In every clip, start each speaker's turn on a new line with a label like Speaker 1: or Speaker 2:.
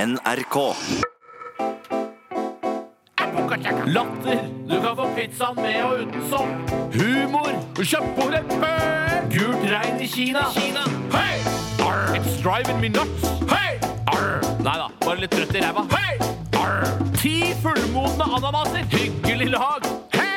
Speaker 1: NRK.
Speaker 2: Latter. Du kan få pizzaen med og uten sopp. Humor. Kjøttbordet pøl. Gult regn i Kina. Hei! Arr. It's driving me nuts. Hei! Arr. Nei da, bare litt trøtt i ræva. Hei! Arr. Ti fullmodne ananaser. Hyggelig lag. Hei!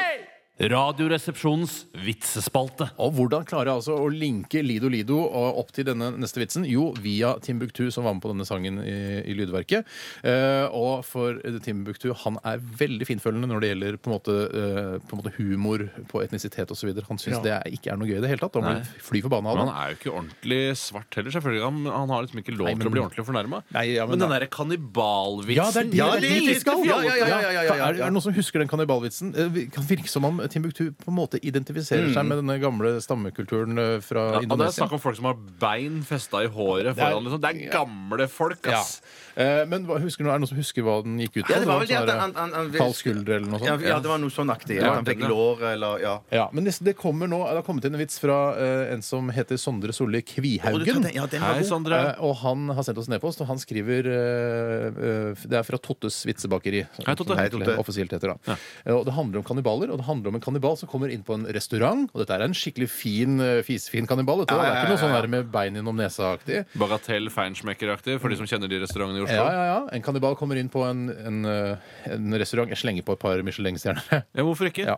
Speaker 2: Radioresepsjonens vitsespalte.
Speaker 3: Og hvordan klare altså å linke Lido Lido og opp til denne neste vitsen? Jo, via Timbuktu, som var med på denne sangen i, i lydverket. Eh, og for Timbuktu, han er veldig finfølende når det gjelder på en måte, eh, på en måte humor på etnisitet osv. Han syns det er, ikke er noe gøy i det hele tatt. og Han blir fly forbanna av
Speaker 4: Men
Speaker 3: det.
Speaker 4: han er jo ikke ordentlig svart heller, selvfølgelig. Han, han har liksom ikke lov
Speaker 3: Nei, men-
Speaker 4: til å bli ordentlig fornærma.
Speaker 3: Nei, ja, men
Speaker 4: men den
Speaker 3: da-
Speaker 4: derre kannibalvitsen
Speaker 3: Ja, det er,
Speaker 4: Ja,
Speaker 3: det er
Speaker 4: det
Speaker 3: dit vi
Speaker 4: er
Speaker 3: skal!
Speaker 4: litt
Speaker 3: Ja, ja, ja, ja, ja, ja,
Speaker 5: ja.
Speaker 3: Er, er det noen som husker den kannibalvitsen? Eh, vi- Kan virke som om Timbuktu på en måte identifiserer seg med denne gamle stammekulturen eh, fra
Speaker 4: Ja, og det er
Speaker 3: Indonesia.
Speaker 4: snakk om folk som har bein festa i håret foran. Liksom. Det er gamle folk,
Speaker 3: Ja.
Speaker 4: ass.
Speaker 3: Eh, Men hva- husker du, er det noen som husker hva den gikk ut på?
Speaker 5: Ja, det var vel det
Speaker 3: sånn
Speaker 5: at
Speaker 3: der,
Speaker 5: han- han- han-
Speaker 3: Kald skulder eller noe
Speaker 5: Ja,
Speaker 3: sånt?
Speaker 5: ja, det var noe sånn aktig. Ja, han fikk
Speaker 4: den, ja.
Speaker 5: lår eller ja.
Speaker 3: Ja, men det, det kommer nå, det har kommet inn en vits fra eh, en som heter Sondre Solli
Speaker 5: Og du tar
Speaker 3: Kvihaugen.
Speaker 5: den- ja, den var
Speaker 4: Hei,
Speaker 5: god.
Speaker 4: Sondre.
Speaker 3: Eh, og han har sendt oss en e-post, og han skriver eh, eh, Det er fra Tottes vitsebakeri. som-
Speaker 4: Hei, Totte.
Speaker 3: som det
Speaker 5: Hei, Totte.
Speaker 3: Offisielt heter, da. Eh, og det handler om kannibaler, og det handler om en kannibal som kommer inn på en restaurant. Og dette er en skikkelig fin, eh, fisefin kannibal. Dette, da. Det er ikke noe sånn her med bein innom nesa-aktig.
Speaker 4: Bagatell feinschmecker-aktig, for de som kjenner de restaurantene i Oslo.
Speaker 3: Ja,
Speaker 4: Ja,
Speaker 3: ja, ja. En kannibal kommer inn på en, en, eh, en restaurant. Jeg slenger på et par Michelin-stjerner.
Speaker 4: hvorfor ikke?
Speaker 3: Ja.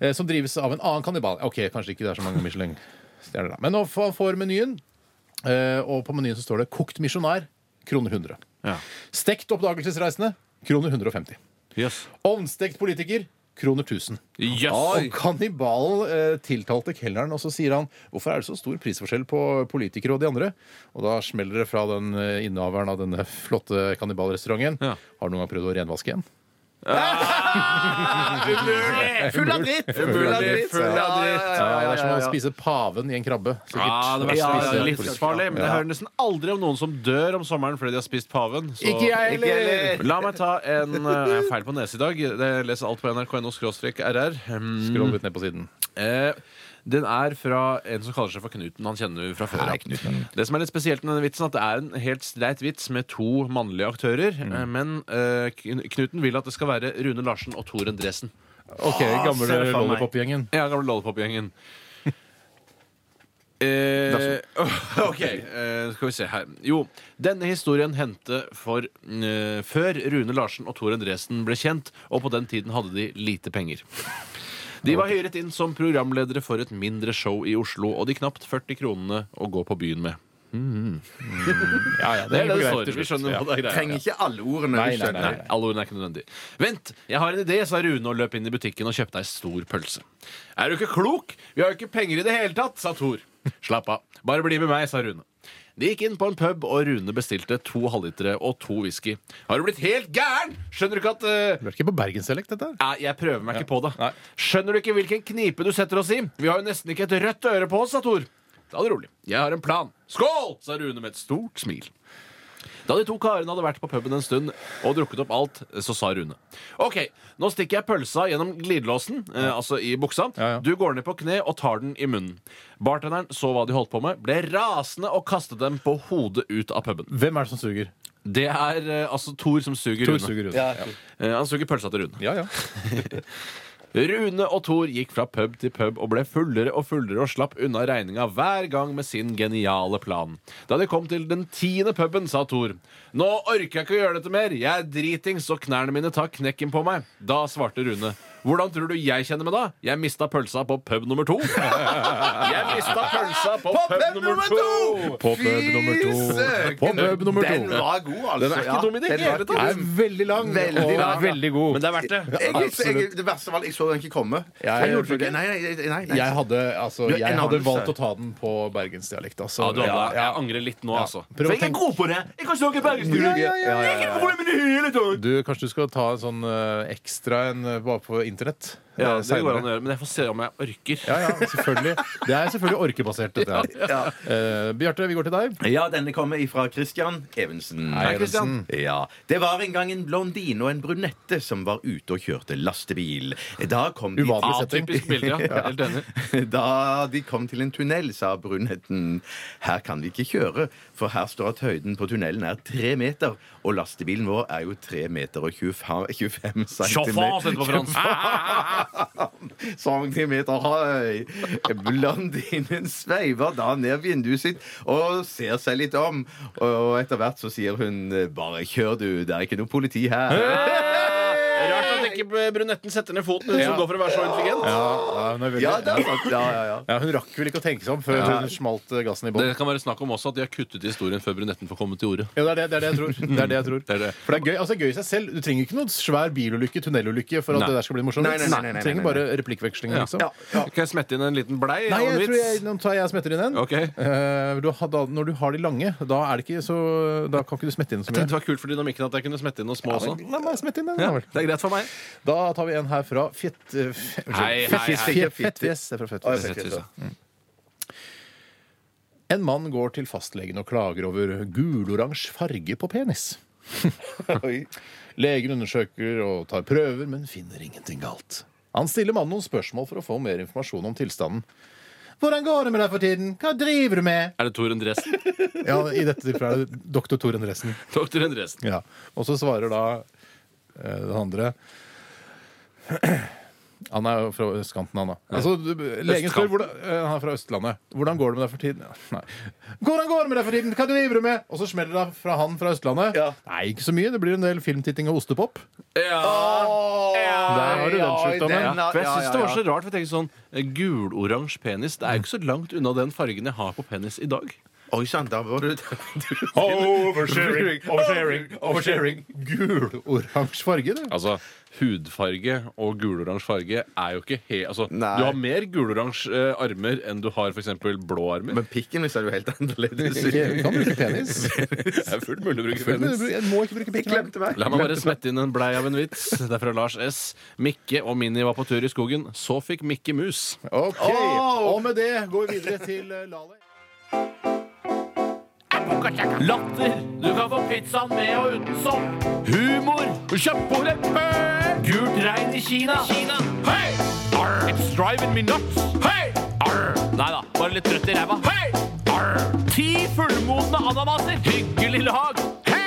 Speaker 3: Eh, Som drives av en annen kannibal. Ok, kanskje ikke det er så mange Michelin-stjerner, da. Men nå får får menyen, eh, og på menyen så står det 'Kokt misjonær', kroner 100.
Speaker 4: Ja.
Speaker 3: Stekt oppdagelsesreisende, kroner 150.
Speaker 4: Yes.
Speaker 3: Ovnstekt politiker, kroner 1000.
Speaker 4: Yes.
Speaker 3: Og kannibalen eh, tiltalte kelneren, og så sier han 'Hvorfor er det så stor prisforskjell på politikere og de andre?' Og da smeller det fra den eh, innehaveren av denne flotte kannibalrestauranten.
Speaker 4: Ja.
Speaker 3: Har du noen gang prøvd å renvaske en?
Speaker 5: Full av dritt!
Speaker 4: Full av dritt, full av
Speaker 5: Ja, ja, ja, ja,
Speaker 3: Ja, det er
Speaker 5: ja,
Speaker 3: som å
Speaker 5: ja.
Speaker 3: spise paven i en krabbe. sikkert.
Speaker 4: Ja, det verste
Speaker 5: Ja,
Speaker 4: hvis det er
Speaker 5: ja,
Speaker 4: livsfarlig. Men jeg hører nesten aldri om noen som dør om sommeren fordi de har spist paven. så-
Speaker 3: Ikke jeg
Speaker 5: Ikke jeg
Speaker 3: heller!
Speaker 5: heller.
Speaker 4: La meg ta en eh, Jeg er feil på nese i dag. Jeg leser alt på nrk.no-rr.
Speaker 3: Skroll Mm. litt ned på siden.
Speaker 4: Mm, Eh, den er fra en som kaller seg for Knuten. Han kjenner vi fra før. av. Det som er litt spesielt med denne vitsen, at det er en helt streit vits med to mannlige aktører. eh, Men eh, Kn- Knuten vil at det skal være Rune Larsen og Tor Endresen.
Speaker 3: Ok, gamle
Speaker 5: ser det for meg.
Speaker 3: Lollipop-gjengen.
Speaker 4: Ja, gamle Lollipop-gjengen. Eh, OK, eh, skal vi se her. Jo, denne historien hendte for eh, før Rune Larsen og Tor Endresen ble kjent, og på den tiden hadde de lite penger. De var hyret inn som programledere for et mindre show i Oslo, og de knapt 40 kronene å gå på byen med.
Speaker 3: Ja, ja,
Speaker 4: Det er det det
Speaker 3: greit
Speaker 4: står.
Speaker 3: til
Speaker 4: Vi
Speaker 3: slutt.
Speaker 4: skjønner hva det er greia.
Speaker 5: Trenger ikke alle ordene.
Speaker 3: Nei,
Speaker 5: vi
Speaker 3: nei,
Speaker 5: skjønner.
Speaker 4: Nei, alle ordene er ikke nødvendig. Vent, jeg har en idé, sa Rune og løp inn i butikken og kjøpte ei stor pølse. Er du ikke klok? Vi har jo ikke penger i det hele tatt, sa Thor. Slapp av. Bare bli med meg, sa Rune. De gikk inn på en pub, og Rune bestilte to halvlitere og to whisky. Har du blitt helt gæren? Skjønner du ikke at eh,
Speaker 3: Du er ikke på Bergensdialekt, dette? her?
Speaker 4: Nei, jeg prøver meg ikke på det.
Speaker 3: Nei.
Speaker 4: Skjønner du ikke hvilken knipe du setter oss i? Vi har jo nesten ikke et rødt øre på oss, sa Tor. Ta det rolig. Jeg har en plan. Skål! sa Rune med et stort smil. Da de to karene hadde vært på puben en stund og drukket opp alt, så sa Rune OK, nå stikker jeg pølsa gjennom glidelåsen, eh, altså i buksa.
Speaker 3: Ja, ja.
Speaker 4: Du går ned på kne og tar den i munnen. Bartenderen så hva de holdt på med, ble rasende og kastet dem på hodet ut av puben.
Speaker 3: Hvem er det som suger?
Speaker 4: Det er eh, altså Tor som suger
Speaker 3: Tor
Speaker 4: Rune.
Speaker 3: suger rundt.
Speaker 5: Ja.
Speaker 4: Eh, han suger pølsa til Rune.
Speaker 3: Ja, ja.
Speaker 4: Rune og Thor gikk fra pub til pub og ble fullere og fullere og slapp unna regninga hver gang med sin geniale plan. Da de kom til den tiende puben, sa Thor Nå orker jeg ikke å gjøre dette mer. Jeg er dritings, og knærne mine tar knekken på meg. Da svarte Rune. Hvordan tror du jeg kjenner meg da? Jeg mista pølsa på pub nummer to. Jeg mista pølsa på, pub, nummer to!
Speaker 3: På pub nummer
Speaker 5: Fy
Speaker 3: to.
Speaker 5: søken!
Speaker 3: På pub nummer
Speaker 5: Den
Speaker 3: to.
Speaker 5: var god, altså.
Speaker 4: Den er ikke dum i det
Speaker 5: den var
Speaker 4: hele
Speaker 5: ikke
Speaker 4: tatt.
Speaker 3: Den er veldig lang
Speaker 5: Veldig
Speaker 3: og
Speaker 5: lang, ja.
Speaker 3: veldig god.
Speaker 4: Men det er verdt det. Altså.
Speaker 5: Jeg, jeg,
Speaker 3: Absolutt.
Speaker 5: det verste var at jeg så den ikke komme.
Speaker 3: Jeg-
Speaker 5: Jeg gjorde ikke det. Nei, nei, nei, nei.
Speaker 3: Jeg hadde, altså,
Speaker 5: Du er
Speaker 3: jeg
Speaker 5: en
Speaker 3: hadde
Speaker 5: anelse.
Speaker 3: valgt å ta den på bergensdialekt. Altså.
Speaker 4: Ja, du, Anna,
Speaker 3: Ja,
Speaker 4: Jeg angrer litt nå, altså.
Speaker 3: Prøv å
Speaker 4: For jeg er
Speaker 3: tenke-
Speaker 4: ikke god på det! Jeg kan snakke bergensk!
Speaker 3: ja, ja, ja, ja.
Speaker 4: Jeg er ikke god med det hele tatt.
Speaker 3: Du, Kanskje du skal ta en sånn eh, ekstra en eh, bare på internett?
Speaker 4: Ja,
Speaker 3: eh,
Speaker 4: det går an
Speaker 3: senere.
Speaker 4: å gjøre, men jeg får se om jeg orker.
Speaker 3: Ja, ja, selvfølgelig. Det er selvfølgelig orkebasert, dette her. Eh, Bjarte, vi går til deg.
Speaker 5: Ja, denne kommer ifra Christian Evensen.
Speaker 3: Hei, Christian.
Speaker 5: Ja, Det var en gang en blondine og en brunette som var ute og kjørte lastebil. Da kom de
Speaker 3: Uvanlig setting.
Speaker 4: Atypisk bilde, ja. Jeg er Helt enig.
Speaker 5: Da de kom til en tunnel, sa brunetten Her kan vi ikke kjøre, for her står at høyden på tunnelen er tre meter, og lastebilen vår er jo tre meter og 25, 25
Speaker 4: Sjåfør, sier det på Ah, fransk.
Speaker 5: centimeter høy. Blondinen sveiver da ned vinduet sitt og ser seg litt om, og etter hvert så sier hun Bare kjør, du. Det er ikke noe politi her.
Speaker 4: Rart at ikke brunetten setter ned foten, hun som går for å være så intelligent.
Speaker 3: Ja, hun, er veldig,
Speaker 5: Ja, det er sant. Ja, ja, ja.
Speaker 3: ja, hun rakk vel ikke å tenke seg om før hun smalt eh, gassen i bånn.
Speaker 4: Det kan være snakk om også at de har kuttet historien før brunetten får komme til ordet.
Speaker 3: Ja, det er det, det, er det jeg tror. Det er det jeg tror.
Speaker 4: Det er det.
Speaker 3: For det er gøy, altså, det er gøy i seg selv. Du trenger ikke noen svær bilulykke, tunnelulykke, for at
Speaker 4: Nei.
Speaker 3: det der skal bli morsomt.
Speaker 5: Nei, nei, nei, nei, nei,
Speaker 3: Du trenger
Speaker 5: nei,
Speaker 3: bare replikkvekslingen, liksom.
Speaker 4: Ja. Kan jeg smette inn en liten blei?
Speaker 3: Nei,
Speaker 4: og en
Speaker 3: jeg tror
Speaker 4: vits?
Speaker 3: jeg, nå tar jeg og smetter inn en.
Speaker 4: Ok.
Speaker 3: Eh, du har, da, når du har de lange, da, er det ikke så, da kan ikke du smette inn så
Speaker 4: Jeg tenkte
Speaker 3: mye.
Speaker 4: det var kult for dynamikken at jeg kunne smette inn noe små også.
Speaker 3: La meg smette inn den.
Speaker 4: Ja,
Speaker 3: da vel.
Speaker 4: det er greit for meg.
Speaker 3: Da tar vi en her fra Fett... eh, f- unnskyld.
Speaker 4: Hei, hei, hei.
Speaker 3: Fett- Fettfjes. Det er fra
Speaker 5: Å,
Speaker 3: Fettfjes.
Speaker 5: jeg fikk det, så.
Speaker 3: En mann går til fastlegen og klager over guloransje farge på penis.
Speaker 5: Oi.
Speaker 3: Legen undersøker og tar prøver, men finner ingenting galt. Han stiller mannen noen spørsmål for å få mer informasjon om tilstanden. Hvordan går det med deg for tiden? Hva driver du med?
Speaker 4: Er det Tor Endresen?
Speaker 3: Ja, I dette tilfellet er det doktor Tor Endresen.
Speaker 4: Doktor Endresen.
Speaker 3: Ja. Og så svarer da eh, den andre Han er jo fra østkanten, han da. Altså, du- legen spør
Speaker 4: Østkanten.
Speaker 3: hvordan, eh, Han er fra Østlandet. Hvordan går det med deg for tiden? Ja, Nei. Hvordan går det med deg for tiden? Hva driver du med? Og så smeller det fra han fra Østlandet.
Speaker 5: Ja.
Speaker 3: Nei, ikke så mye. Det blir en del filmtitting og ostepop.
Speaker 4: Ja.
Speaker 3: Der har du den
Speaker 5: Oi,
Speaker 3: sjukdommen.
Speaker 5: den er-
Speaker 4: For jeg
Speaker 5: ja,
Speaker 4: synes
Speaker 5: ja,
Speaker 4: det var
Speaker 5: ja.
Speaker 4: så rart. For jeg tenker sånn, eh, Guloransje penis Det er jo ikke så langt unna den fargen jeg har på penis i dag.
Speaker 5: Oi sann, da var du
Speaker 3: Oversharing, oversharing, oversharing. Gul-oransje farge, det.
Speaker 4: Altså, Hudfarge og guloransje farge er jo ikke helt altså,
Speaker 5: Nei.
Speaker 4: Du har mer guloransje eh, armer enn du har f.eks. blå armer.
Speaker 5: Men pikken min ser jo helt annerledes
Speaker 3: Ikke-
Speaker 5: ut.
Speaker 3: Du kan bruke penis.
Speaker 4: Det er fullt mulig å bruke
Speaker 3: Men
Speaker 4: penis.
Speaker 3: du- Jeg må ikke bruke pikken.
Speaker 5: Glemte meg.
Speaker 4: La meg bare smette inn en blei av en vits. Det er fra Lars S. Mikke og Minni var på tur i skogen. Så fikk Mikke mus.
Speaker 3: Ok,
Speaker 5: Åh!
Speaker 3: Og med det går vi videre til eh, Lale.
Speaker 2: Latter. Du kan få pizzaen med og uten sopp. Humor. Kjøpt på leppe. Gult regn i Kina. Kina. Hey! Arr. It's driving me nuts. Hey! Arr. Nei da, bare litt trøtt i ræva. Hey! Arr. Ti fullmodne ananaser. Hyggelig lag. Hei!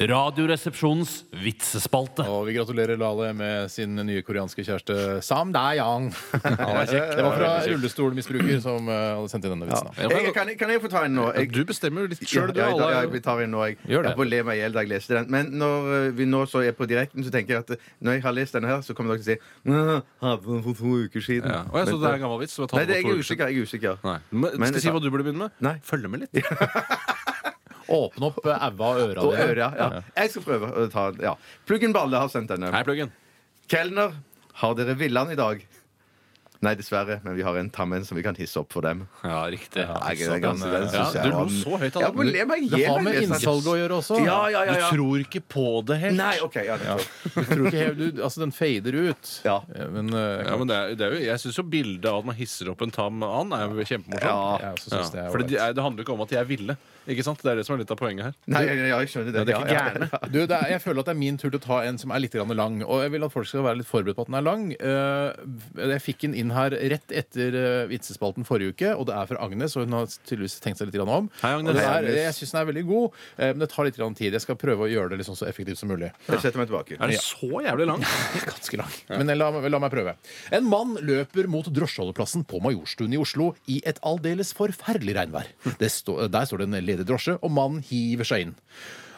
Speaker 2: Radioresepsjonens vitsespalte.
Speaker 3: Og vi gratulerer Lale med sin nye koreanske kjæreste Sam Dayang. Det var fra rullestolmisbruker som eh, hadde sendt inn denne vitsen. da.
Speaker 5: Jeg, kan, jeg- kan jeg få ta en nå? Jeg,
Speaker 4: Du bestemmer jo litt
Speaker 5: Ja,
Speaker 4: sjøl, du.
Speaker 5: ja, ja,
Speaker 4: Alle
Speaker 5: jeg tar en nå. Jeg,
Speaker 3: Gjør det.
Speaker 5: jeg får le meg i hjel da jeg leste den. Men når eh, vi nå så er på direkten, så tenker jeg at eh, når jeg har lest denne her, så kommer dere til å si «Nå, Hadde den for to uker siden.
Speaker 4: Ja. Og jeg så
Speaker 5: Men,
Speaker 4: det er en gammel vits. som jeg
Speaker 5: Nei,
Speaker 4: tatt på
Speaker 5: det,
Speaker 4: to
Speaker 5: jeg er
Speaker 4: uker siden.
Speaker 5: usikker. Jeg er usikker.
Speaker 4: Nei. Men,
Speaker 5: Men
Speaker 4: skal jeg
Speaker 5: jeg
Speaker 4: si
Speaker 5: tar-
Speaker 4: hva du burde begynne med?
Speaker 5: Nei.
Speaker 4: Følge med litt.
Speaker 3: Åpne opp eh, aua og øra
Speaker 5: Og
Speaker 3: dine.
Speaker 5: øret, ja. Jeg skal prøve å ta den. Ja. Pluggen Balle har sendt denne.
Speaker 4: Hei, Pluggen.
Speaker 5: Kelner, har dere Villand i dag? Nei, dessverre, men vi har en tammen som vi kan hisse opp for dem.
Speaker 4: Ja, riktig.
Speaker 5: Nei, den er ganske- den
Speaker 4: Ja,
Speaker 5: synes jeg
Speaker 4: du
Speaker 5: var-
Speaker 4: lo så høyt
Speaker 5: Jeg må
Speaker 4: av den.
Speaker 5: le meg i
Speaker 3: Det
Speaker 5: hjel.
Speaker 3: har
Speaker 5: når
Speaker 3: med
Speaker 5: jeg leser den.
Speaker 3: innsalget å gjøre også.
Speaker 5: Ja, ja, ja,
Speaker 4: Du
Speaker 5: ja.
Speaker 4: tror ikke på det helt.
Speaker 5: Nei, OK. Ja, det
Speaker 3: Du tror ikke, helt- du, altså, den fader ut.
Speaker 5: Ja.
Speaker 3: Eh, Men eh,
Speaker 4: Ja, men det er, det er jo, jeg syns jo bildet av at man hisser opp en tam and, er jo
Speaker 5: Ja.
Speaker 4: kjempemorsomt.
Speaker 3: jeg også synes det er
Speaker 4: For
Speaker 3: ålreit.
Speaker 4: det, er- det handler jo ikke om at jeg ville. Ikke sant? Det er det som er litt av poenget her.
Speaker 5: Nei, ja, ja, jeg skjønner det.
Speaker 4: det er ikke
Speaker 5: Ja, ja.
Speaker 4: gærne.
Speaker 3: Du, det er, jeg føler at det er min tur til å ta en som er litt grann lang. Og jeg vil at folk skal være litt forberedt på at den er lang. Eh, jeg fikk den inn her rett etter eh, vitsespalten forrige uke, og det er fra Agnes. Og hun har tydeligvis tenkt seg litt grann om.
Speaker 4: Hei, Agnes.
Speaker 3: Og det
Speaker 4: Hei,
Speaker 3: er,
Speaker 5: Agnes.
Speaker 3: jeg syns den er veldig god, eh, men det tar litt grann tid. Jeg skal prøve å gjøre det liksom så effektivt som mulig.
Speaker 5: Jeg setter meg tilbake.
Speaker 4: Er det så jævlig lang?
Speaker 3: Ganske lang. Men la, la meg prøve. En mann løper mot drosjeholdeplassen på Majorstuen i Oslo i et aldeles forferdelig regnvær. Det stå, der står det en ledig drosje, og mannen hiver seg inn.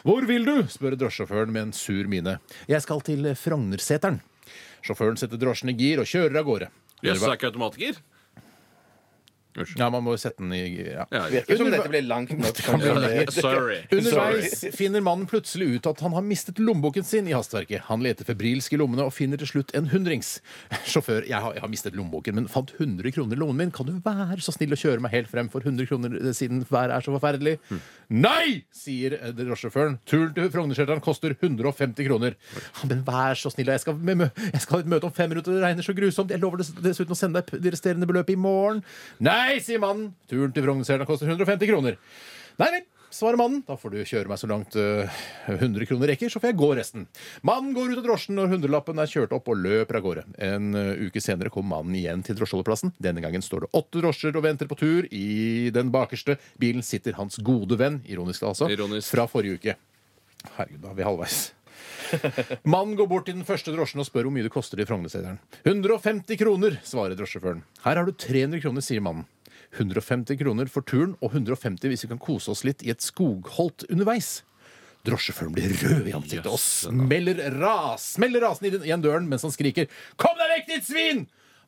Speaker 3: Hvor vil du? spør drosjesjåføren med en sur mine. Jeg skal til Frognerseteren. Sjåføren setter drosjen i gir og kjører av gårde.
Speaker 4: Jøss, er ikke automatiker? Unnskyld.
Speaker 3: Ja, man må jo sette den i ja.
Speaker 4: Ja, ja.
Speaker 5: Virker som dette blir langt nok.
Speaker 4: Sorry.
Speaker 3: Underveis finner mannen plutselig ut at han har mistet lommeboken sin i hastverket. Han leter febrilsk i lommene og finner til slutt en hundrings. Sjåfør, jeg har, jeg har mistet lommeboken, men fant 100 kroner i lommen min. Kan du være så snill å kjøre meg helt frem for 100 kroner eh, siden været er så forferdelig? Nei! sier eh, drosjesjåføren. Turen til Frognerseteren koster 150 kroner. «Ja, Men vær så snill, jeg skal, med mø- jeg skal ha et møte om fem minutter, det regner så grusomt. Jeg lover dess- dessuten å sende deg p- det resterende beløpet i morgen. Nei, sier mannen. Turen til Frognerseteren koster 150 kroner. Nei vel, svarer mannen. Da får du kjøre meg så langt øh, 100 kroner rekker, så får jeg gå resten. Mannen går ut av drosjen når hundrelappen er kjørt opp, og løper av gårde. En øh, uke senere kommer mannen igjen til drosjeholdeplassen. Denne gangen står det åtte drosjer og venter på tur. I den bakerste bilen sitter hans gode venn, ironisk altså,
Speaker 4: Ironisk.
Speaker 3: fra forrige uke. Herregud, da er vi halvveis. Mannen går bort til den første drosjen og spør hvor mye det koster i Frognerseteren. 150 kroner, svarer drosjesjåføren. Her har du 300 kroner, sier mannen. 150 kroner for turen og 150 hvis vi kan kose oss litt i et skogholt underveis. Drosjesjåføren blir rød i ansiktet og smeller, ras, smeller rasende i den- igjen døren mens han skriker 'Kom deg vekk, ditt svin!'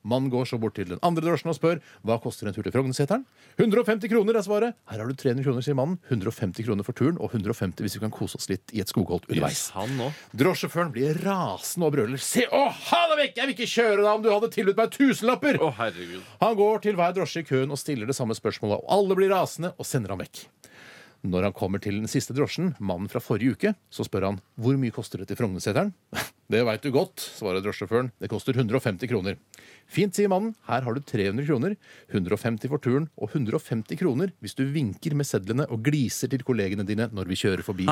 Speaker 3: Mannen går så bort til den andre drosjen og spør hva koster en tur til Frognerseteren. 150 kroner er svaret. Her har du 300 kroner, sier mannen. 150 kroner for turen og 150 hvis vi kan kose oss litt i et skogholt underveis.
Speaker 4: Han nå.
Speaker 3: Drosjesjåføren blir rasende og brøler. Se, å, ha deg vekk! Jeg vil ikke kjøre deg om du hadde tilbudt meg tusenlapper!
Speaker 4: Å, herregud.
Speaker 3: Han går til hver drosje i køen og stiller det samme spørsmålet, og alle blir rasende og sender ham vekk. Når han kommer til den siste drosjen, mannen fra forrige uke, så spør han hvor mye koster det til Frognerseteren? Det veit du godt, svarer drosjesjåføren. Det koster 150 kroner. Fint, sier mannen. Her har du 300 kroner. 150 for turen og 150 kroner hvis du vinker med sedlene og gliser til kollegene dine når vi kjører forbi.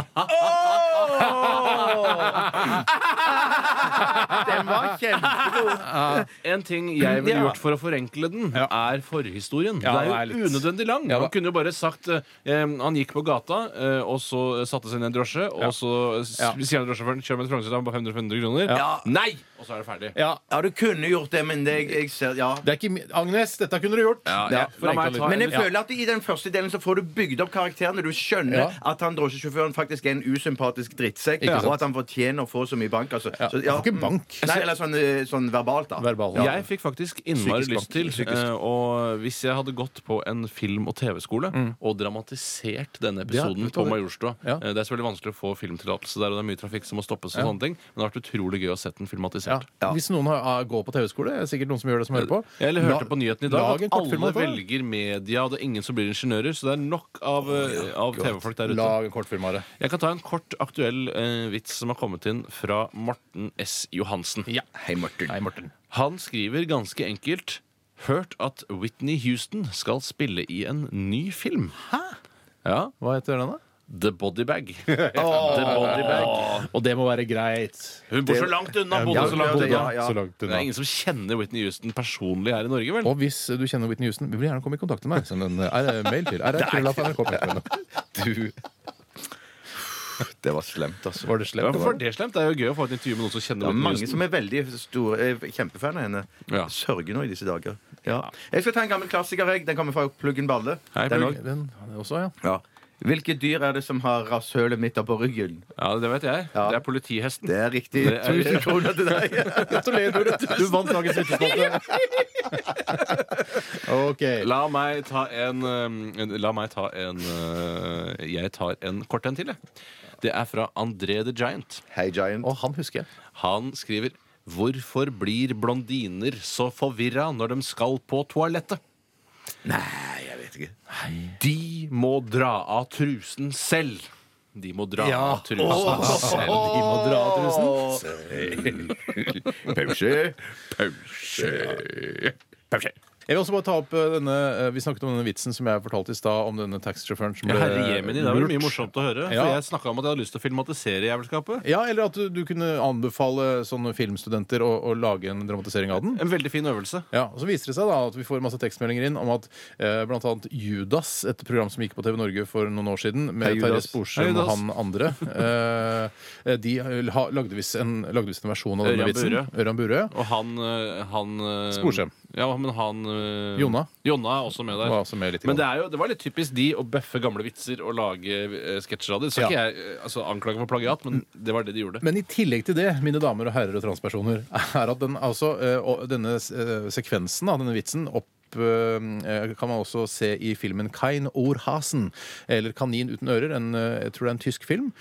Speaker 5: Den var kjempegod.
Speaker 4: Eh, En ting jeg ville
Speaker 3: Ja.
Speaker 4: gjort for å forenkle den, er forhistorien.
Speaker 3: Ja,
Speaker 4: det er
Speaker 3: det er
Speaker 4: jo
Speaker 3: litt-
Speaker 4: unødvendig lang.
Speaker 3: Ja, da.
Speaker 4: han kunne jo bare sagt eh, em, Han gikk på gata, eh, og så satte seg ned i en drosje, og så s-
Speaker 3: Ja.
Speaker 4: sier han drosjesjåføren kjør med et Frognerseteren på 500 kroner.
Speaker 5: Ja.
Speaker 4: Nei! Og så er det ferdig.
Speaker 3: Ja,
Speaker 5: Ja, du kunne gjort det, men det, jeg ser Ja.
Speaker 3: Det er ikke, mi- Agnes, dette kunne du gjort.
Speaker 4: Ja, ja. La meg ta
Speaker 5: Men jeg
Speaker 4: en-
Speaker 5: føler at i den første delen så får du bygd opp karakterene. Du skjønner
Speaker 3: Ja.
Speaker 5: at han drosjesjåføren faktisk er en usympatisk drittsekk,
Speaker 3: Ikke sant.
Speaker 5: og at han fortjener å få så mye bank. Altså. Så,
Speaker 3: Han får ikke
Speaker 5: mm.
Speaker 3: bank.
Speaker 5: Nei, eller sånn, eh, sånn verbalt, da.
Speaker 3: Verbal.
Speaker 5: Ja.
Speaker 4: Jeg fikk faktisk innmari
Speaker 3: Psykisk
Speaker 4: lyst til,
Speaker 3: vanskelig. Psykisk.
Speaker 4: eh, og hvis jeg hadde gått på en film- og TV-skole og dramatisert denne episoden
Speaker 3: vet du
Speaker 4: på
Speaker 3: hva det-
Speaker 4: Majorstua
Speaker 3: Mm. Ja.
Speaker 4: eh, Det er selvfølgelig vanskelig å få filmtillatelse der, og det er mye trafikk som må stoppes, og sånne ting men det har vært utrolig gøy å sett den
Speaker 3: Ja.
Speaker 4: filmatisert.
Speaker 3: Hvis noen har, ah, går på TV-skole, er det sikkert noen som gjør det som hører på.
Speaker 4: Jeg hørte
Speaker 3: La-
Speaker 4: på nyheten i dag
Speaker 3: lag en
Speaker 4: at
Speaker 3: kortfilm
Speaker 4: alle
Speaker 3: av det.
Speaker 4: velger media, og det er ingen som blir ingeniører, så det er nok av, eh, av TV-folk der ute.
Speaker 3: Lag en kortfilm av det.
Speaker 4: Jeg kan ta en kort, aktuell eh, vits som har kommet inn fra Morten S. Johansen.
Speaker 5: Hei, Morten.
Speaker 3: Nei, Morten.
Speaker 4: Han skriver ganske enkelt Hørt at Whitney Houston skal spille i en ny film. Hæ? Ja.
Speaker 3: Hva heter den, da?
Speaker 4: The Bodybag. The Body Bag.
Speaker 3: Og det må være greit.
Speaker 4: Hun bor så langt unna! Bodde
Speaker 5: ja,
Speaker 4: så langt
Speaker 5: ja,
Speaker 4: unna.
Speaker 5: ja, ja.
Speaker 3: Så langt
Speaker 4: Det er
Speaker 3: unna.
Speaker 4: ingen som kjenner Whitney Houston personlig her i Norge, vel?
Speaker 3: Og hvis du kjenner Whitney Houston, vil du gjerne komme i kontakt med meg. Send en eh, mail til rr.nrk.no.
Speaker 5: Du Det var slemt, altså.
Speaker 3: Var det
Speaker 4: Ja,
Speaker 3: slemt?
Speaker 4: Hvorfor er det slemt? Det er jo gøy å få et intervju med noen som
Speaker 5: Det
Speaker 4: kjenner
Speaker 5: er
Speaker 4: Whitney
Speaker 5: mange
Speaker 4: Houston.
Speaker 5: som er veldig store er kjempefan av henne.
Speaker 4: Ja.
Speaker 5: Sørger nå i disse dager. Ja. Jeg skal ta en gammel klassiker. jeg. Den kommer fra Pluggen Balle.
Speaker 4: Hei,
Speaker 5: Den
Speaker 4: Plugg.
Speaker 5: også.
Speaker 3: Den den også, ja.
Speaker 5: ja. Hvilke dyr er det som har rasshølet midt oppå ryggen?
Speaker 4: Ja, det vet jeg.
Speaker 5: Ja.
Speaker 4: Det er politihesten.
Speaker 5: Det er riktig.
Speaker 4: Det er-
Speaker 5: 1000 kroner til deg.
Speaker 3: Gratulerer, Tore. Du vant dagens vitsespalte. OK.
Speaker 4: La meg ta en eh, La meg ta en eh, Jeg tar en kort en til, jeg. Det er fra André the Giant.
Speaker 5: Hei, Giant.
Speaker 3: Og han husker jeg.
Speaker 4: Han skriver Hvorfor blir blondiner så forvirra når de skal på toalettet?
Speaker 5: Nei, jeg vet ikke.
Speaker 4: De må dra av trusen selv. De må dra av trusen selv.
Speaker 3: De må dra av trusen.
Speaker 5: Pause.
Speaker 3: Jeg vil også bare ta opp eh, denne eh, Vi snakket om denne vitsen som jeg fortalte i stad, om denne taxisjåføren som
Speaker 4: Ja, Herre Jemini, det var jo mye morsomt å høre.
Speaker 3: Ja.
Speaker 4: For jeg snakka om at jeg hadde lyst til å filmatisere jævelskapet.
Speaker 3: Ja, eller at du, du kunne anbefale sånne filmstudenter å, å lage en dramatisering av den.
Speaker 4: En veldig fin øvelse.
Speaker 3: Ja, og Så viser det seg da at vi får masse tekstmeldinger inn om at eh, bl.a. Judas, et program som gikk på TV Norge for noen år siden, med
Speaker 5: Hei,
Speaker 3: Terje
Speaker 4: Hei,
Speaker 5: Judas.
Speaker 3: Sporsem og
Speaker 4: Judas.
Speaker 3: han andre eh, De ha, lagde visst en, lagde visst en versjon av
Speaker 4: Ørjan
Speaker 3: denne vitsen.
Speaker 4: Burøe.
Speaker 3: Ørjan Burøe.
Speaker 4: Og han, eh, han eh,
Speaker 3: Sporsem.
Speaker 4: Ja, men han eh,
Speaker 3: Jonna.
Speaker 4: Jonna er også med der.
Speaker 3: Var også med litt i
Speaker 4: men det,
Speaker 3: gang.
Speaker 4: er jo, det var litt typisk de å bøffe gamle vitser og lage eh, sketsjer av det. Så
Speaker 3: Ja.
Speaker 4: ikke jeg eh, altså, anklage for plagiat, men det var det de gjorde.
Speaker 3: Men i tillegg til det, mine damer og herrer og transpersoner, er at den, altså, eh, og denne eh, sekvensen av denne vitsen opp klipp eh, kan man også se i filmen Kein Orhasen, eller Kanin uten ører. En, eh, jeg tror det er en tysk film.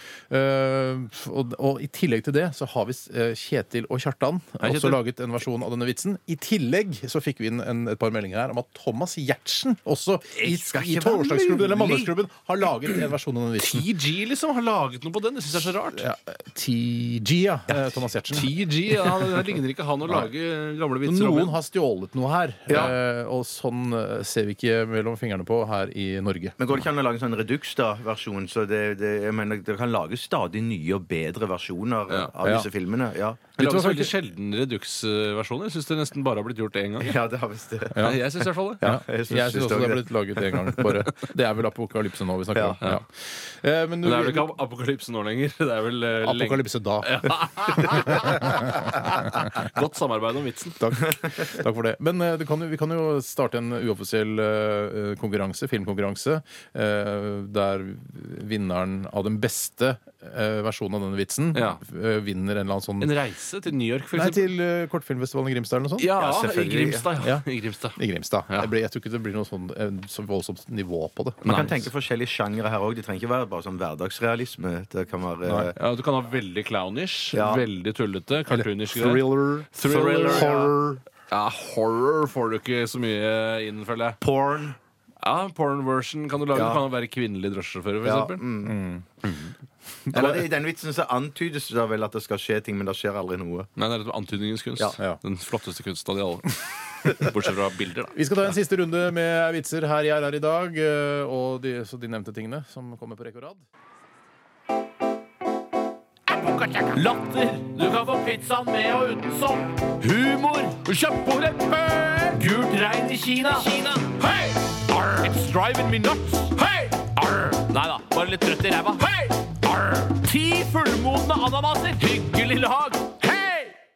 Speaker 3: Eh, og, og i tillegg til det så har vi eh, Kjetil og Kjartan
Speaker 4: Kjetil.
Speaker 3: også laget en versjon av denne vitsen. I tillegg så fikk vi inn en, et par meldinger her om at Thomas Giertsen også i,
Speaker 5: skal
Speaker 3: i
Speaker 5: ikke være
Speaker 3: Torsdagsklubben eller
Speaker 5: mulig.
Speaker 3: Mandagsklubben har laget en versjon av denne vitsen.
Speaker 4: TG liksom har laget noe på den. Det syns jeg er så rart.
Speaker 3: Ja, TG, ja. eh, Thomas Giertsen.
Speaker 4: TG, ja, Det ligner ikke han å lage gamle vitser om
Speaker 3: Noen
Speaker 4: igjen.
Speaker 3: har stjålet noe her,
Speaker 5: Ja.
Speaker 3: eh, og sånn eh, ser vi ikke mellom fingrene på her i Norge.
Speaker 5: Men går det ikke an å lage en sånn Redux-versjon? Så det, det, jeg mener, det kan lages stadig nye og bedre versjoner
Speaker 4: Ja.
Speaker 5: av
Speaker 3: Ja.
Speaker 5: disse filmene. Ja,
Speaker 4: Det
Speaker 3: Vet du
Speaker 4: lages
Speaker 3: hva,
Speaker 4: veldig sjelden Redux-versjoner. Jeg syns det nesten bare har blitt gjort én gang.
Speaker 5: ja det har visst det.
Speaker 4: Nei, Jeg synes i hvert fall det.
Speaker 3: Ja, jeg
Speaker 5: jeg synes-
Speaker 3: syns
Speaker 5: synes
Speaker 3: også det er
Speaker 5: det.
Speaker 3: blitt laget én gang. Bare. Det er vel apokalypse nå vi snakker
Speaker 5: Ja.
Speaker 3: om. Ja. Eh,
Speaker 4: Men
Speaker 3: Men,
Speaker 4: det er vel ikke ap- apokalypse nå lenger. Det er vel eh, lenge-
Speaker 3: apokalypse da.
Speaker 4: Godt samarbeid om vitsen.
Speaker 3: Takk. Takk for det. Men eh, det kan jo, vi kan jo starte en uoffisiell eh, konkurranse, filmkonkurranse, eh, der vinneren av den beste eh, versjonen av denne vitsen
Speaker 4: Ja.
Speaker 3: eh, vinner en eller annen sånn
Speaker 4: En reise til New York, for
Speaker 3: Nei,
Speaker 4: eksempel.
Speaker 3: til eh, kortfilmfestivalen i Grimstad eller noe sånt?
Speaker 4: Ja,
Speaker 5: Ja,
Speaker 4: i
Speaker 5: selvfølgelig.
Speaker 4: Grimstad. Ja.
Speaker 3: Ja.
Speaker 4: I Grimstad.
Speaker 3: I Grimstad.
Speaker 4: Ja.
Speaker 3: Jeg, blir, jeg tror ikke det blir noe sånn, eh, så voldsomt nivå på det.
Speaker 5: Man kan
Speaker 4: Nice.
Speaker 5: tenke forskjellige sjangre her òg. Det trenger ikke være bare sånn hverdagsrealisme. Det kan være eh,
Speaker 4: Ja, du kan ha veldig clownish,
Speaker 5: Ja.
Speaker 4: veldig tullete, cartoonish greier.
Speaker 3: Thriller,
Speaker 4: Thriller, ja.
Speaker 3: horror
Speaker 4: Ja, horror får du ikke så mye inn, føler jeg.
Speaker 5: porn.
Speaker 4: Ja, Porn version kan du lage. Du
Speaker 5: Ja.
Speaker 4: kan være kvinnelig drosjesjåfør, for
Speaker 5: Ja,
Speaker 4: eksempel.
Speaker 5: mm. Eller I den vitsen så antydes det vel at det skal skje ting, men det skjer aldri noe.
Speaker 4: Nei, det er litt antydningens kunst.
Speaker 5: Ja.
Speaker 3: Ja.
Speaker 4: Den flotteste kunsten av de alle. Bortsett fra bilder, da.
Speaker 3: Vi skal ta en siste runde med vitser her jeg er her i dag, eh, og de, så de nevnte tingene som kommer på rekke og rad.
Speaker 2: Latter. Du kan få pizzaen med og uten sopp. Humor. Kjøpt på leppe. Gult regn i Kina. Kina. Hey! Arr. It's driving me nuts. Hey! Arr. Nei da, bare litt trøtt i ræva. Hey! Arr. Ti fullmodne ananaser. Hyggelig lag. Hei!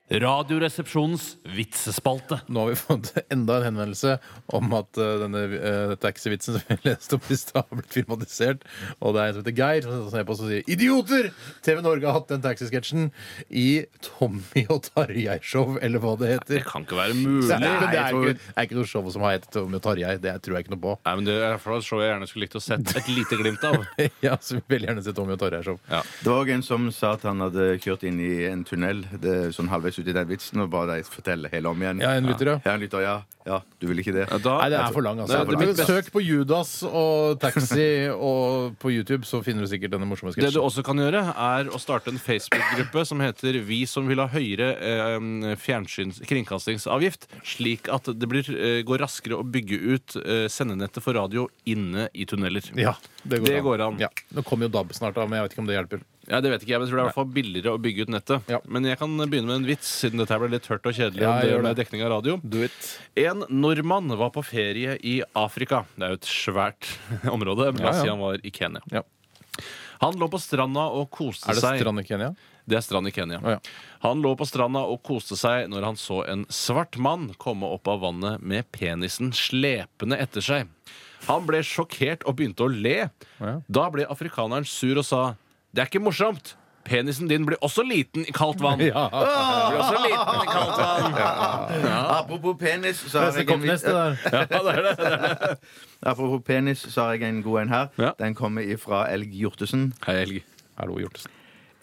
Speaker 2: Radioresepsjonens vitsespalte.
Speaker 3: Nå har vi fått enda en henvendelse om at eh, denne eh, taxivitsen som vi leste opp i stad, har blitt filmatisert. Og det er en som heter Geir som ser på oss og sier 'Idioter! TV Norge har hatt den taxisketsjen i Tommy og Tarjei-show, eller hva det
Speaker 4: Det
Speaker 3: heter.
Speaker 4: kan ikke være
Speaker 3: Det
Speaker 4: mulig.
Speaker 3: er, men det er, ikke, det er ikke noe show som har hett Tommy og Tarjei. Det tror jeg ikke noe på.
Speaker 4: Nei, men Det er i hvert fall et show jeg gjerne skulle likt å sett et lite glimt av.
Speaker 3: Ja, så vi vil veldig gjerne se Tommy og Tarjei-show.
Speaker 4: Ja.
Speaker 5: Det var også en som sa at han hadde kjørt inn i en tunnel det, sånn halvveis uti den vitsen og ba deg fortelle hele om igjen.
Speaker 3: Ja, en lytter, ja.
Speaker 5: Ja, en lytter, ja. ja du vil ikke det?
Speaker 4: Ja, Da,
Speaker 3: Nei, det er for lang, altså.
Speaker 4: Det er- det
Speaker 3: Men
Speaker 4: blir best.
Speaker 3: Søk på Judas og taxi og på YouTube, så finner du sikkert denne morsomme
Speaker 4: Det du
Speaker 3: sketsjen.
Speaker 4: også kan gjøre, er å starte en Facebook-gruppe som heter Vi som vil ha høyere eh, fjernsyns- kringkastingsavgift, slik at det blir, eh, går raskere å bygge ut eh, sendenettet for radio inne i tunneler.
Speaker 3: Ja, det går
Speaker 4: Det
Speaker 3: an.
Speaker 4: går an.
Speaker 3: Ja. Nå kommer jo DAB snart, da, men jeg vet ikke om det hjelper.
Speaker 4: Ja, det vet ikke jeg, men jeg tror det er i hvert fall billigere å bygge ut nettet.
Speaker 3: Ja.
Speaker 4: Men jeg kan begynne med en vits, siden dette her ble litt tørt og kjedelig.
Speaker 3: Ja,
Speaker 4: om det
Speaker 3: gjør
Speaker 4: med
Speaker 3: det.
Speaker 4: dekning av radio.
Speaker 3: Do it.
Speaker 4: En nordmann var på ferie i Afrika. Det er jo et svært område, men la oss
Speaker 3: Ja, ja.
Speaker 4: si han var i Kenya.
Speaker 3: Ja.
Speaker 4: Han lå på stranda og koste
Speaker 3: Er det
Speaker 4: seg.
Speaker 3: strand i Kenya?
Speaker 4: Det er strand i Kenya.
Speaker 3: Å, ja.
Speaker 4: Han lå på stranda og koste seg når han så en svart mann komme opp av vannet med penisen slepende etter seg. Han ble sjokkert og begynte å le.
Speaker 3: Ja.
Speaker 4: Da ble afrikaneren sur og sa Det er ikke morsomt. Penisen din blir også liten i kaldt vann.
Speaker 3: Ah,
Speaker 4: Blir også liten i kaldt vann.
Speaker 5: Apropos penis, så har
Speaker 3: Neste
Speaker 5: jeg en
Speaker 3: kom neste
Speaker 5: vits-
Speaker 3: der.
Speaker 4: Ja, det er det, det er det.
Speaker 5: Apropos penis, så har jeg en god en her.
Speaker 4: Ja.
Speaker 5: Den kommer ifra Elg Hjortesen.
Speaker 4: Hei, Helge.
Speaker 3: Hallo, Hjortesen.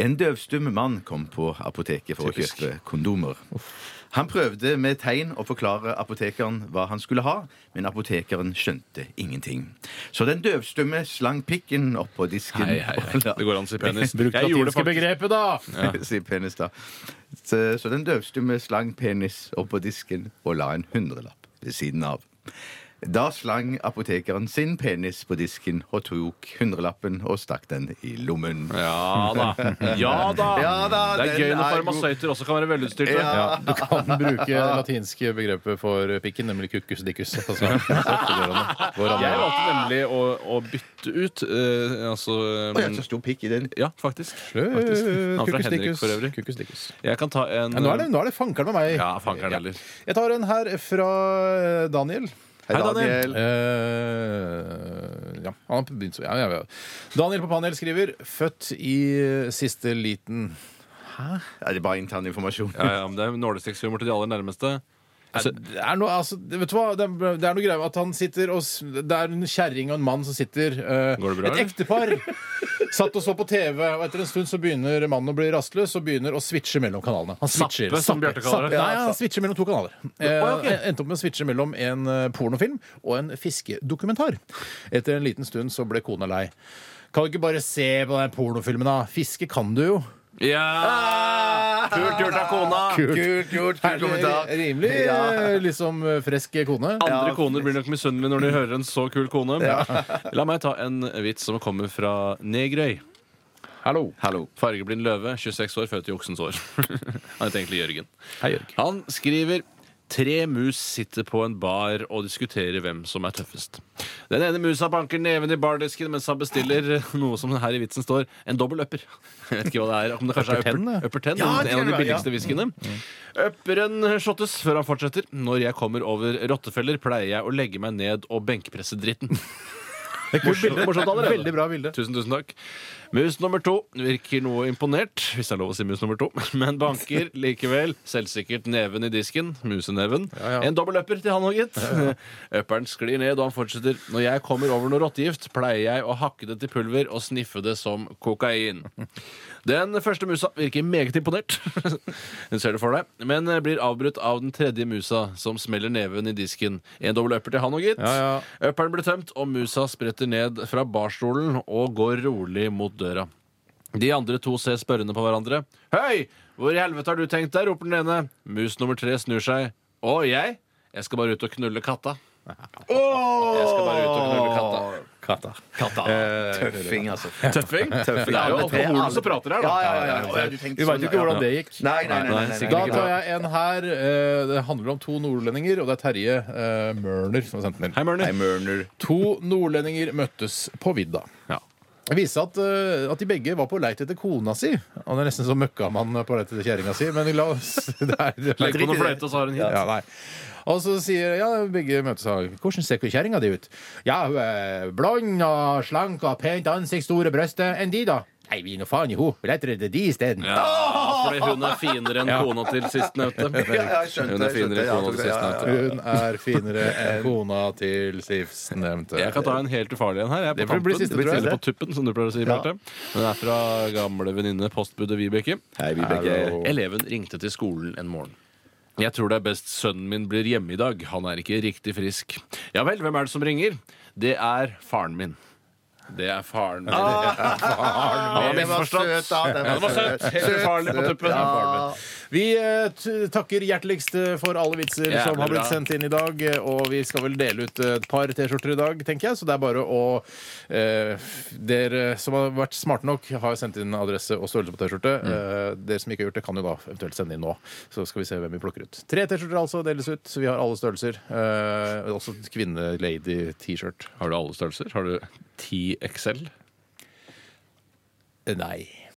Speaker 5: En døvstum mann kom på apoteket for
Speaker 4: Typisk.
Speaker 5: å kjøpe kondomer. Han prøvde med tegn å forklare apotekeren hva han skulle ha, men apotekeren skjønte ingenting. Så den døvstumme slang pikken opp på disken.
Speaker 4: Hei, hei, hei.
Speaker 5: og la-
Speaker 4: Det går an å si penis.
Speaker 3: Bruk det
Speaker 4: Jeg gjorde det
Speaker 3: latinske
Speaker 4: faktisk.
Speaker 3: begrepet, da!
Speaker 5: sier penis da. Så, så den døvstumme slang penis opp på disken og la en hundrelapp ved siden av. Da slang apotekeren sin penis på disken og tok hundrelappen og stakk den i lommen.
Speaker 4: Ja da. Ja da.
Speaker 5: Ja da,
Speaker 4: det er
Speaker 5: den
Speaker 4: gøy når
Speaker 5: er god.
Speaker 4: farmasøyter også kan være velutstyrte.
Speaker 3: Ja, du kan bruke det latinske begrepet for pikken, nemlig cucus dicus. Altså, så går an det. Går an det.
Speaker 4: Jeg valgte nemlig å, å bytte ut eh, altså,
Speaker 5: Å, jeg har så stor pikk i den.
Speaker 4: Ja, faktisk. faktisk. Han er fra
Speaker 3: Kukus
Speaker 4: Henrik
Speaker 3: dicus.
Speaker 4: for øvrig.
Speaker 3: Kukus dicus.
Speaker 4: Jeg kan ta en
Speaker 3: Ja, Nå er det, nå er det fankeren med meg.
Speaker 4: Ja, fankeren heller.
Speaker 3: Jeg tar en her fra eh, Daniel.
Speaker 5: Hei,
Speaker 4: Daniel.
Speaker 3: Eh, ja, han har begynt så ja, ja, ja. Daniel på panel skriver 'født i eh, siste liten'.
Speaker 5: Ja, det er bare intern informasjon.
Speaker 4: Ja, ja, men det er nålestikkshumor til de aller nærmeste.
Speaker 3: Er- Det er noe, altså, det- vet du hva? Det er, det er noe greier med at han sitter og s- Det er en kjerring og en mann som sitter eh,
Speaker 4: Går det bra,
Speaker 3: Et ektepar satt og så på TV, og etter en stund så begynner mannen å bli rastløs og begynner å switche mellom kanalene. Han switcher.
Speaker 4: Zappe, som Bjarte kaller det.
Speaker 3: Zappe. Nei, han switcher mellom to kanaler. Eh,
Speaker 4: Å, ja, ok.
Speaker 3: Endte opp med å switche mellom en eh, pornofilm og en fiskedokumentar. Etter en liten stund så ble kona lei. Kan du ikke bare se på den pornofilmen, da? Fiske kan du jo. Ah!
Speaker 4: Ja! Kult gjort av kona.
Speaker 5: Kult gjort,
Speaker 3: Herlig,
Speaker 5: kul kommentar.
Speaker 3: Rimelig eh, liksom eh, fresk kone.
Speaker 4: Andre koner blir nok misunnelige når de hører en så kul kone. La meg ta en vits som kommer fra Negrøy.
Speaker 3: Hallo.
Speaker 5: Hallo.
Speaker 4: Fargeblind løve, 26 år, født i oksens år. Han heter egentlig Jørgen. Han skriver Tre mus sitter på en bar og diskuterer hvem som er tøffest. Den ene musa banker neven i bardisken mens han bestiller noe som her i vitsen står en dobbel upper. Jeg vet ikke hva det er. Om det kanskje er
Speaker 3: Upper ten,
Speaker 4: upper,
Speaker 3: det.
Speaker 4: upper ten,
Speaker 5: Ja, det
Speaker 4: en av de
Speaker 5: kan det være, ja.
Speaker 4: billigste whiskyene. Upperen shottes før han fortsetter. Når jeg kommer over rottefeller, pleier jeg å legge meg ned og benkpresse dritten. Morsomt morsomt allerede.
Speaker 3: Veldig bra bilde.
Speaker 4: Tusen, tusen takk. Mus nummer to virker noe imponert, hvis det er lov å si mus nummer to, men banker likevel selvsikkert neven i disken. Museneven.
Speaker 3: Ja, ja.
Speaker 4: En dobbel upper til han òg, gitt. Upperen sklir ned, og han fortsetter. Når jeg kommer over noe rottegift, pleier jeg å hakke det til pulver og sniffe det som kokain. Den første musa virker meget imponert, Hun ser det for deg, men eh, blir avbrutt av den tredje musa, som smeller neven i disken. En dobbel upper til han òg, gitt.
Speaker 3: Ja,
Speaker 4: Upperen blir tømt, og musa spretter ned fra barstolen og går rolig mot døra. De andre to ser spørrende på hverandre. Høy! Hvor i helvete har du tenkt deg? roper den ene. Mus nummer tre snur seg. Å, jeg? Jeg skal bare ut og knulle katta. Jeg skal bare ut og knulle katta.
Speaker 3: Katta.
Speaker 4: Katta.
Speaker 5: Tøffing, altså.
Speaker 4: Tøffing?
Speaker 5: Tøffing.
Speaker 4: Det er jo
Speaker 5: Alle tre,
Speaker 4: alkoholen
Speaker 5: alle-
Speaker 4: som prater her, da.
Speaker 5: Ja, ja, ja, ja. Å, ja, du tenkte
Speaker 3: Vi
Speaker 5: sånn,
Speaker 3: veit jo ikke
Speaker 5: ja.
Speaker 3: hvordan det gikk.
Speaker 5: Nei, nei, nei. nei,
Speaker 4: Nei,
Speaker 5: nei,
Speaker 4: sikkert
Speaker 3: Da
Speaker 5: nei.
Speaker 4: ikke
Speaker 3: tar jeg en her. eh, Det handler om to nordlendinger, og det er Terje eh, Mørner som har sendt den inn.
Speaker 4: Hei, Mørner.
Speaker 5: Nei, Mørner.
Speaker 3: To nordlendinger møttes på vidda.
Speaker 4: Ja.
Speaker 3: Det viste seg at, eh, at de begge var på leit etter kona si. Han er nesten som møkkamann på leit etter kjerringa si, men la oss det er- det er-
Speaker 4: Legg på noe fløyte, så har hun hit.
Speaker 3: ja, nei. Og så sier ja, begge møtes og Hvordan ser kjerringa di ut? Ja, hun er blond og slank og har pent ansikt, store bryster. Enn de, da? Nei, vi gir nå faen i henne. Vi leter etter de isteden.
Speaker 4: Ja, fordi hun er finere enn kona til sistnevnte.
Speaker 5: Ja, ja, jeg skjønte,
Speaker 4: Hun er
Speaker 5: jeg skjønte,
Speaker 4: finere enn
Speaker 5: ja,
Speaker 4: kona til
Speaker 5: ja, ja, ja.
Speaker 4: sistnevnte.
Speaker 3: Hun er finere enn kona til sistnevnte.
Speaker 4: Jeg kan ta en helt ufarlig en her. Jeg er på
Speaker 3: Det blir- blir
Speaker 4: tampen.
Speaker 3: siste,
Speaker 4: Det
Speaker 3: tror jeg.
Speaker 4: stille på tuppen, som du pleier å si, Bjarte. Den er fra gamle venninne postbudet Vibeke.
Speaker 5: Hei, Vibeke.
Speaker 4: Eh, Eleven ringte til skolen en morgen. Jeg tror det er best sønnen min blir hjemme i dag. Han er ikke riktig frisk. Ja vel, hvem er det som ringer? Det er faren min. Det er faren min. Han var
Speaker 5: Det var
Speaker 4: misforstått.
Speaker 5: søt, da. Det
Speaker 4: Ja, det var søt. Helt ufarlig på tuppen.
Speaker 3: Vi eh, t- takker hjerteligst eh, for alle vitser
Speaker 4: Jævlig
Speaker 3: som har blitt
Speaker 4: bra.
Speaker 3: sendt inn i dag. eh, Og vi skal vel dele ut eh, et par T-skjorter i dag, tenker jeg. Så det er bare å eh, Dere som har vært smarte nok, har sendt inn adresse og størrelse på T-skjorte. Eh, dere som ikke har gjort det, kan jo da eventuelt sende inn nå. Så skal vi se hvem vi plukker ut. Tre T-skjorter altså deles ut. Så vi har alle størrelser. Eh, også kvinne-lady-T-skjort.
Speaker 4: Har du alle størrelser? Har du 10 XL?
Speaker 3: Eh, Nei.